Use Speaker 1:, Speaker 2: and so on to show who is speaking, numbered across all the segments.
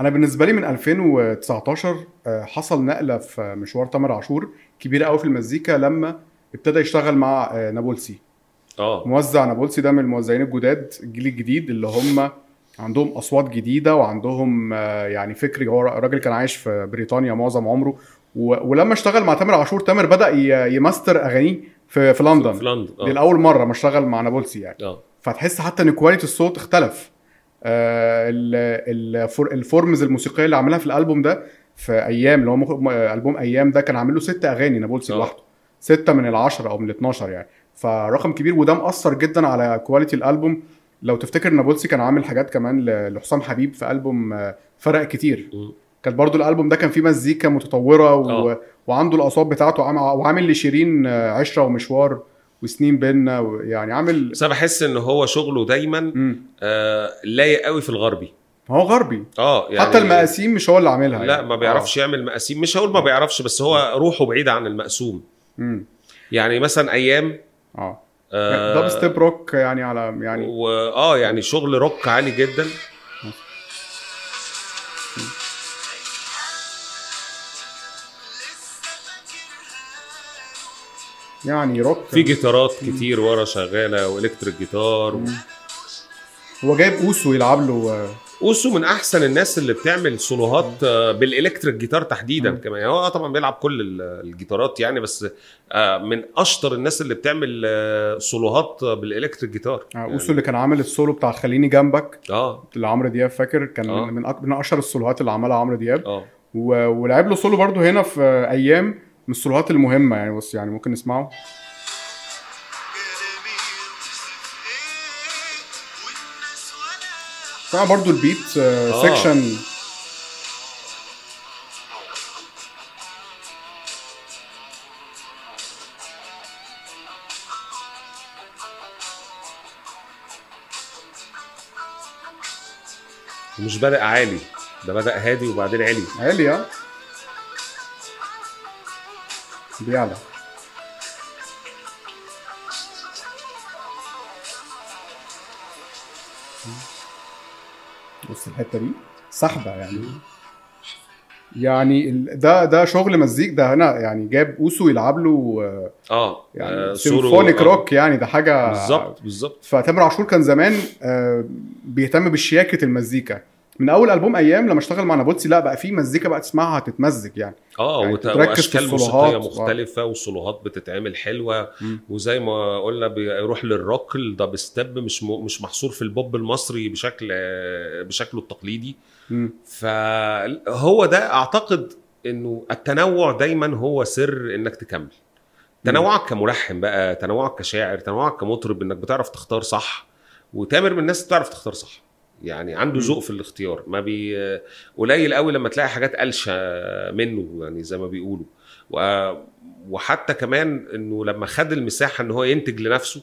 Speaker 1: انا بالنسبه لي من 2019 آه، حصل نقله في مشوار تامر عاشور كبيره قوي في المزيكا لما ابتدى يشتغل مع آه، نابلسي
Speaker 2: اه
Speaker 1: موزع نابلسي ده من الموزعين الجداد الجيل الجديد اللي هم عندهم اصوات جديده وعندهم آه، يعني فكر هو راجل كان عايش في بريطانيا معظم عمره و- ولما اشتغل مع تامر عاشور تامر بدا ي- يماستر اغانيه في في
Speaker 2: في
Speaker 1: لندن
Speaker 2: لندن
Speaker 1: دي
Speaker 2: اه
Speaker 1: لاول مره ما اشتغل مع نابلسي يعني
Speaker 2: اه
Speaker 1: فتحس حتى ان كواليتي الصوت اختلف آه، ال- الفور- الفورمز الموسيقيه اللي عاملها في الالبوم ده في ايام اللي هو مخ- م- البوم ايام ده كان عامل له ست اغاني نابلسي
Speaker 2: آه.
Speaker 1: لوحده سته من العشره او من ال 12 يعني فرقم كبير وده مأثر جدا على كواليتي الالبوم لو تفتكر نابلسي كان عامل حاجات كمان ل- لحسام حبيب في البوم آه، فرق كتير
Speaker 2: مم.
Speaker 1: كان برضو الالبوم ده كان فيه مزيكا متطوره و...
Speaker 2: آه.
Speaker 1: وعنده الاصوات بتاعته عام- وعامل لشيرين آه، عشره ومشوار وسنين بينا و... يعني عامل
Speaker 2: بس انا بحس ان هو شغله دايما
Speaker 1: مم.
Speaker 2: آه لايق قوي في الغربي
Speaker 1: هو غربي
Speaker 2: اه
Speaker 1: يعني
Speaker 2: يعني
Speaker 1: حتى المقاسيم مش هو اللي عاملها
Speaker 2: لا
Speaker 1: يعني.
Speaker 2: ما بيعرفش يعمل مقاسيم مش هقول ما بيعرفش بس هو روحه بعيده عن المقسوم
Speaker 1: اه مم.
Speaker 2: يعني مثلا ايام
Speaker 1: اه
Speaker 2: آه
Speaker 1: دب ستيب روك يعني على يعني
Speaker 2: و... اه يعني شغل روك عالي جدا
Speaker 1: يعني روك
Speaker 2: في جيتارات كتير ورا شغاله والكتريك جيتار و...
Speaker 1: هو جايب اوسو يلعب له آه،
Speaker 2: اوسو من احسن الناس اللي بتعمل سولوهات آه، بالالكتريك جيتار تحديدا
Speaker 1: مم.
Speaker 2: كمان يعني هو طبعا بيلعب كل ال- الجيتارات يعني بس آه، من اشطر الناس اللي بتعمل آه، سولوهات آه، بالالكتريك جيتار يعني
Speaker 1: آه، اوسو اللي كان عامل السولو بتاع خليني جنبك
Speaker 2: اه
Speaker 1: اللي عمرو دياب فاكر كان
Speaker 2: آه.
Speaker 1: من أك- من اشهر السولوهات اللي عملها عمرو دياب
Speaker 2: اه
Speaker 1: و- ولعب له سولو برضه هنا في آه، ايام من السولوهات المهمه يعني بس يعني ممكن نسمعه سمع برضه البيت
Speaker 2: آه.
Speaker 1: سيكشن
Speaker 2: مش بادئ عالي ده بدأ هادي وبعدين عالي
Speaker 1: عالي آه. بيعلى بص الحته دي سحبه يعني يعني ال- ده ده شغل مزيك ده هنا يعني جاب اوسو يلعب له آه،
Speaker 2: اه
Speaker 1: يعني
Speaker 2: آه، سولو-
Speaker 1: سيمفونيك
Speaker 2: آه.
Speaker 1: روك يعني ده حاجه
Speaker 2: بالظبط بالظبط
Speaker 1: فتامر عاشور كان زمان آه، بيهتم بشياكه المزيكا من اول البوم ايام لما اشتغل مع نابلسي لا بقى في مزيكا بقى تسمعها تتمزج يعني
Speaker 2: اه
Speaker 1: يعني
Speaker 2: وت...
Speaker 1: تركز في
Speaker 2: واشكال موسيقيه
Speaker 1: الصولوهات.
Speaker 2: مختلفه وصولوهات بتتعمل حلوه
Speaker 1: مم.
Speaker 2: وزي ما قلنا بيروح للروك الدب ستيب مش م... مش محصور في البوب المصري بشكل آه، بشكله التقليدي
Speaker 1: مم. يعني
Speaker 2: فهو ده اعتقد انه التنوع دايما هو سر انك تكمل تنوعك كملحن بقى تنوعك كشاعر تنوعك كمطرب انك بتعرف تختار صح وتامر من الناس اللي بتعرف تختار صح يعني عنده
Speaker 1: مم.
Speaker 2: ذوق في الاختيار ما بي قليل قوي لما تلاقي حاجات قلشه منه يعني زي ما بيقولوا و... وحتى كمان انه لما خد المساحه ان هو ينتج لنفسه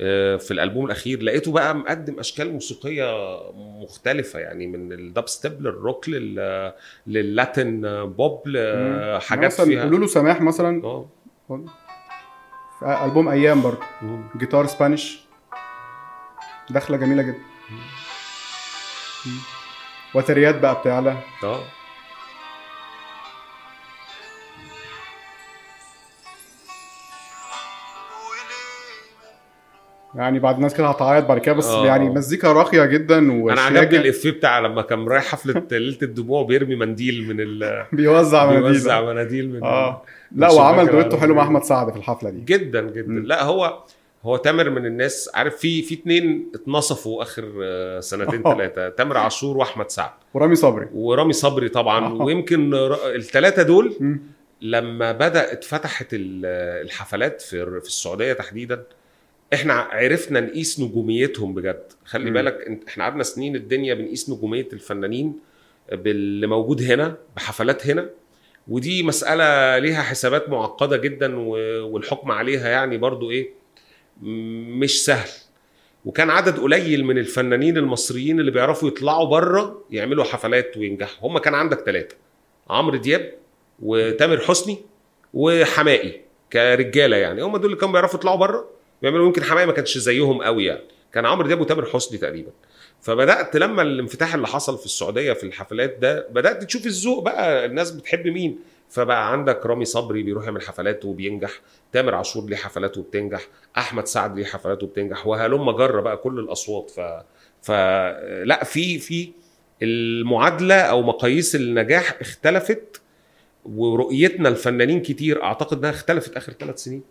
Speaker 2: آه، في الالبوم الاخير لقيته بقى مقدم اشكال موسيقيه مختلفه يعني من الدب ستيب للروك لل... لللاتين بوب
Speaker 1: مم.
Speaker 2: لحاجات
Speaker 1: مثلا
Speaker 2: فيها
Speaker 1: قولوا له سماح مثلا
Speaker 2: اه
Speaker 1: في البوم ايام برضه
Speaker 2: مم.
Speaker 1: جيتار سبانيش دخله جميله جدا مم. وتريات بقى بتعلى
Speaker 2: اه
Speaker 1: يعني بعد الناس كده هتعيط بعد كده بس
Speaker 2: آه.
Speaker 1: يعني مزيكا راقيه جدا
Speaker 2: انا
Speaker 1: وشياكه
Speaker 2: عجبني الافيه بتاع لما كان رايح حفله ليله الدموع بيرمي منديل من ال...
Speaker 1: آه، بيوزع مناديل
Speaker 2: بيوزع مناديل من
Speaker 1: اه
Speaker 2: من
Speaker 1: لا
Speaker 2: الشباك
Speaker 1: وعمل
Speaker 2: العربي.
Speaker 1: دويتو حلو مع احمد سعد في الحفله دي
Speaker 2: جدا جدا
Speaker 1: مم.
Speaker 2: لا هو هو تامر من الناس عارف في في اتنين اتنصفوا اخر آه، سنتين
Speaker 1: آه.
Speaker 2: ثلاثه تامر عاشور واحمد سعد
Speaker 1: ورامي صبري
Speaker 2: ورامي صبري طبعا
Speaker 1: آه.
Speaker 2: ويمكن الثلاثه دول
Speaker 1: مم.
Speaker 2: لما بدا اتفتحت ال- الحفلات في في السعوديه تحديدا احنا عرفنا نقيس نجوميتهم بجد خلي
Speaker 1: مم.
Speaker 2: بالك انت- احنا قعدنا سنين الدنيا بنقيس نجوميه الفنانين باللي موجود هنا بحفلات هنا ودي مساله ليها حسابات معقده جدا و- والحكم عليها يعني برضو ايه م- مش سهل وكان عدد قليل من الفنانين المصريين اللي بيعرفوا يطلعوا بره يعملوا حفلات وينجحوا هم كان عندك ثلاثه عمرو دياب وتامر حسني وحمائي كرجاله يعني هم دول اللي كانوا بيعرفوا يطلعوا بره بيعملوا يمكن حماية ما كانش زيهم قوي يعني كان عمرو دياب وتامر حسني تقريبا فبدات لما الانفتاح اللي حصل في السعوديه في الحفلات ده بدات تشوف الذوق بقى الناس بتحب مين فبقى عندك رامي صبري بيروح يعمل حفلات وبينجح تامر عاشور ليه حفلاته وبتنجح احمد سعد ليه حفلاته وبتنجح وهلم جره بقى كل الاصوات ف فلا في في المعادله او مقاييس النجاح اختلفت ورؤيتنا الفنانين كتير اعتقد انها اختلفت اخر ثلاث سنين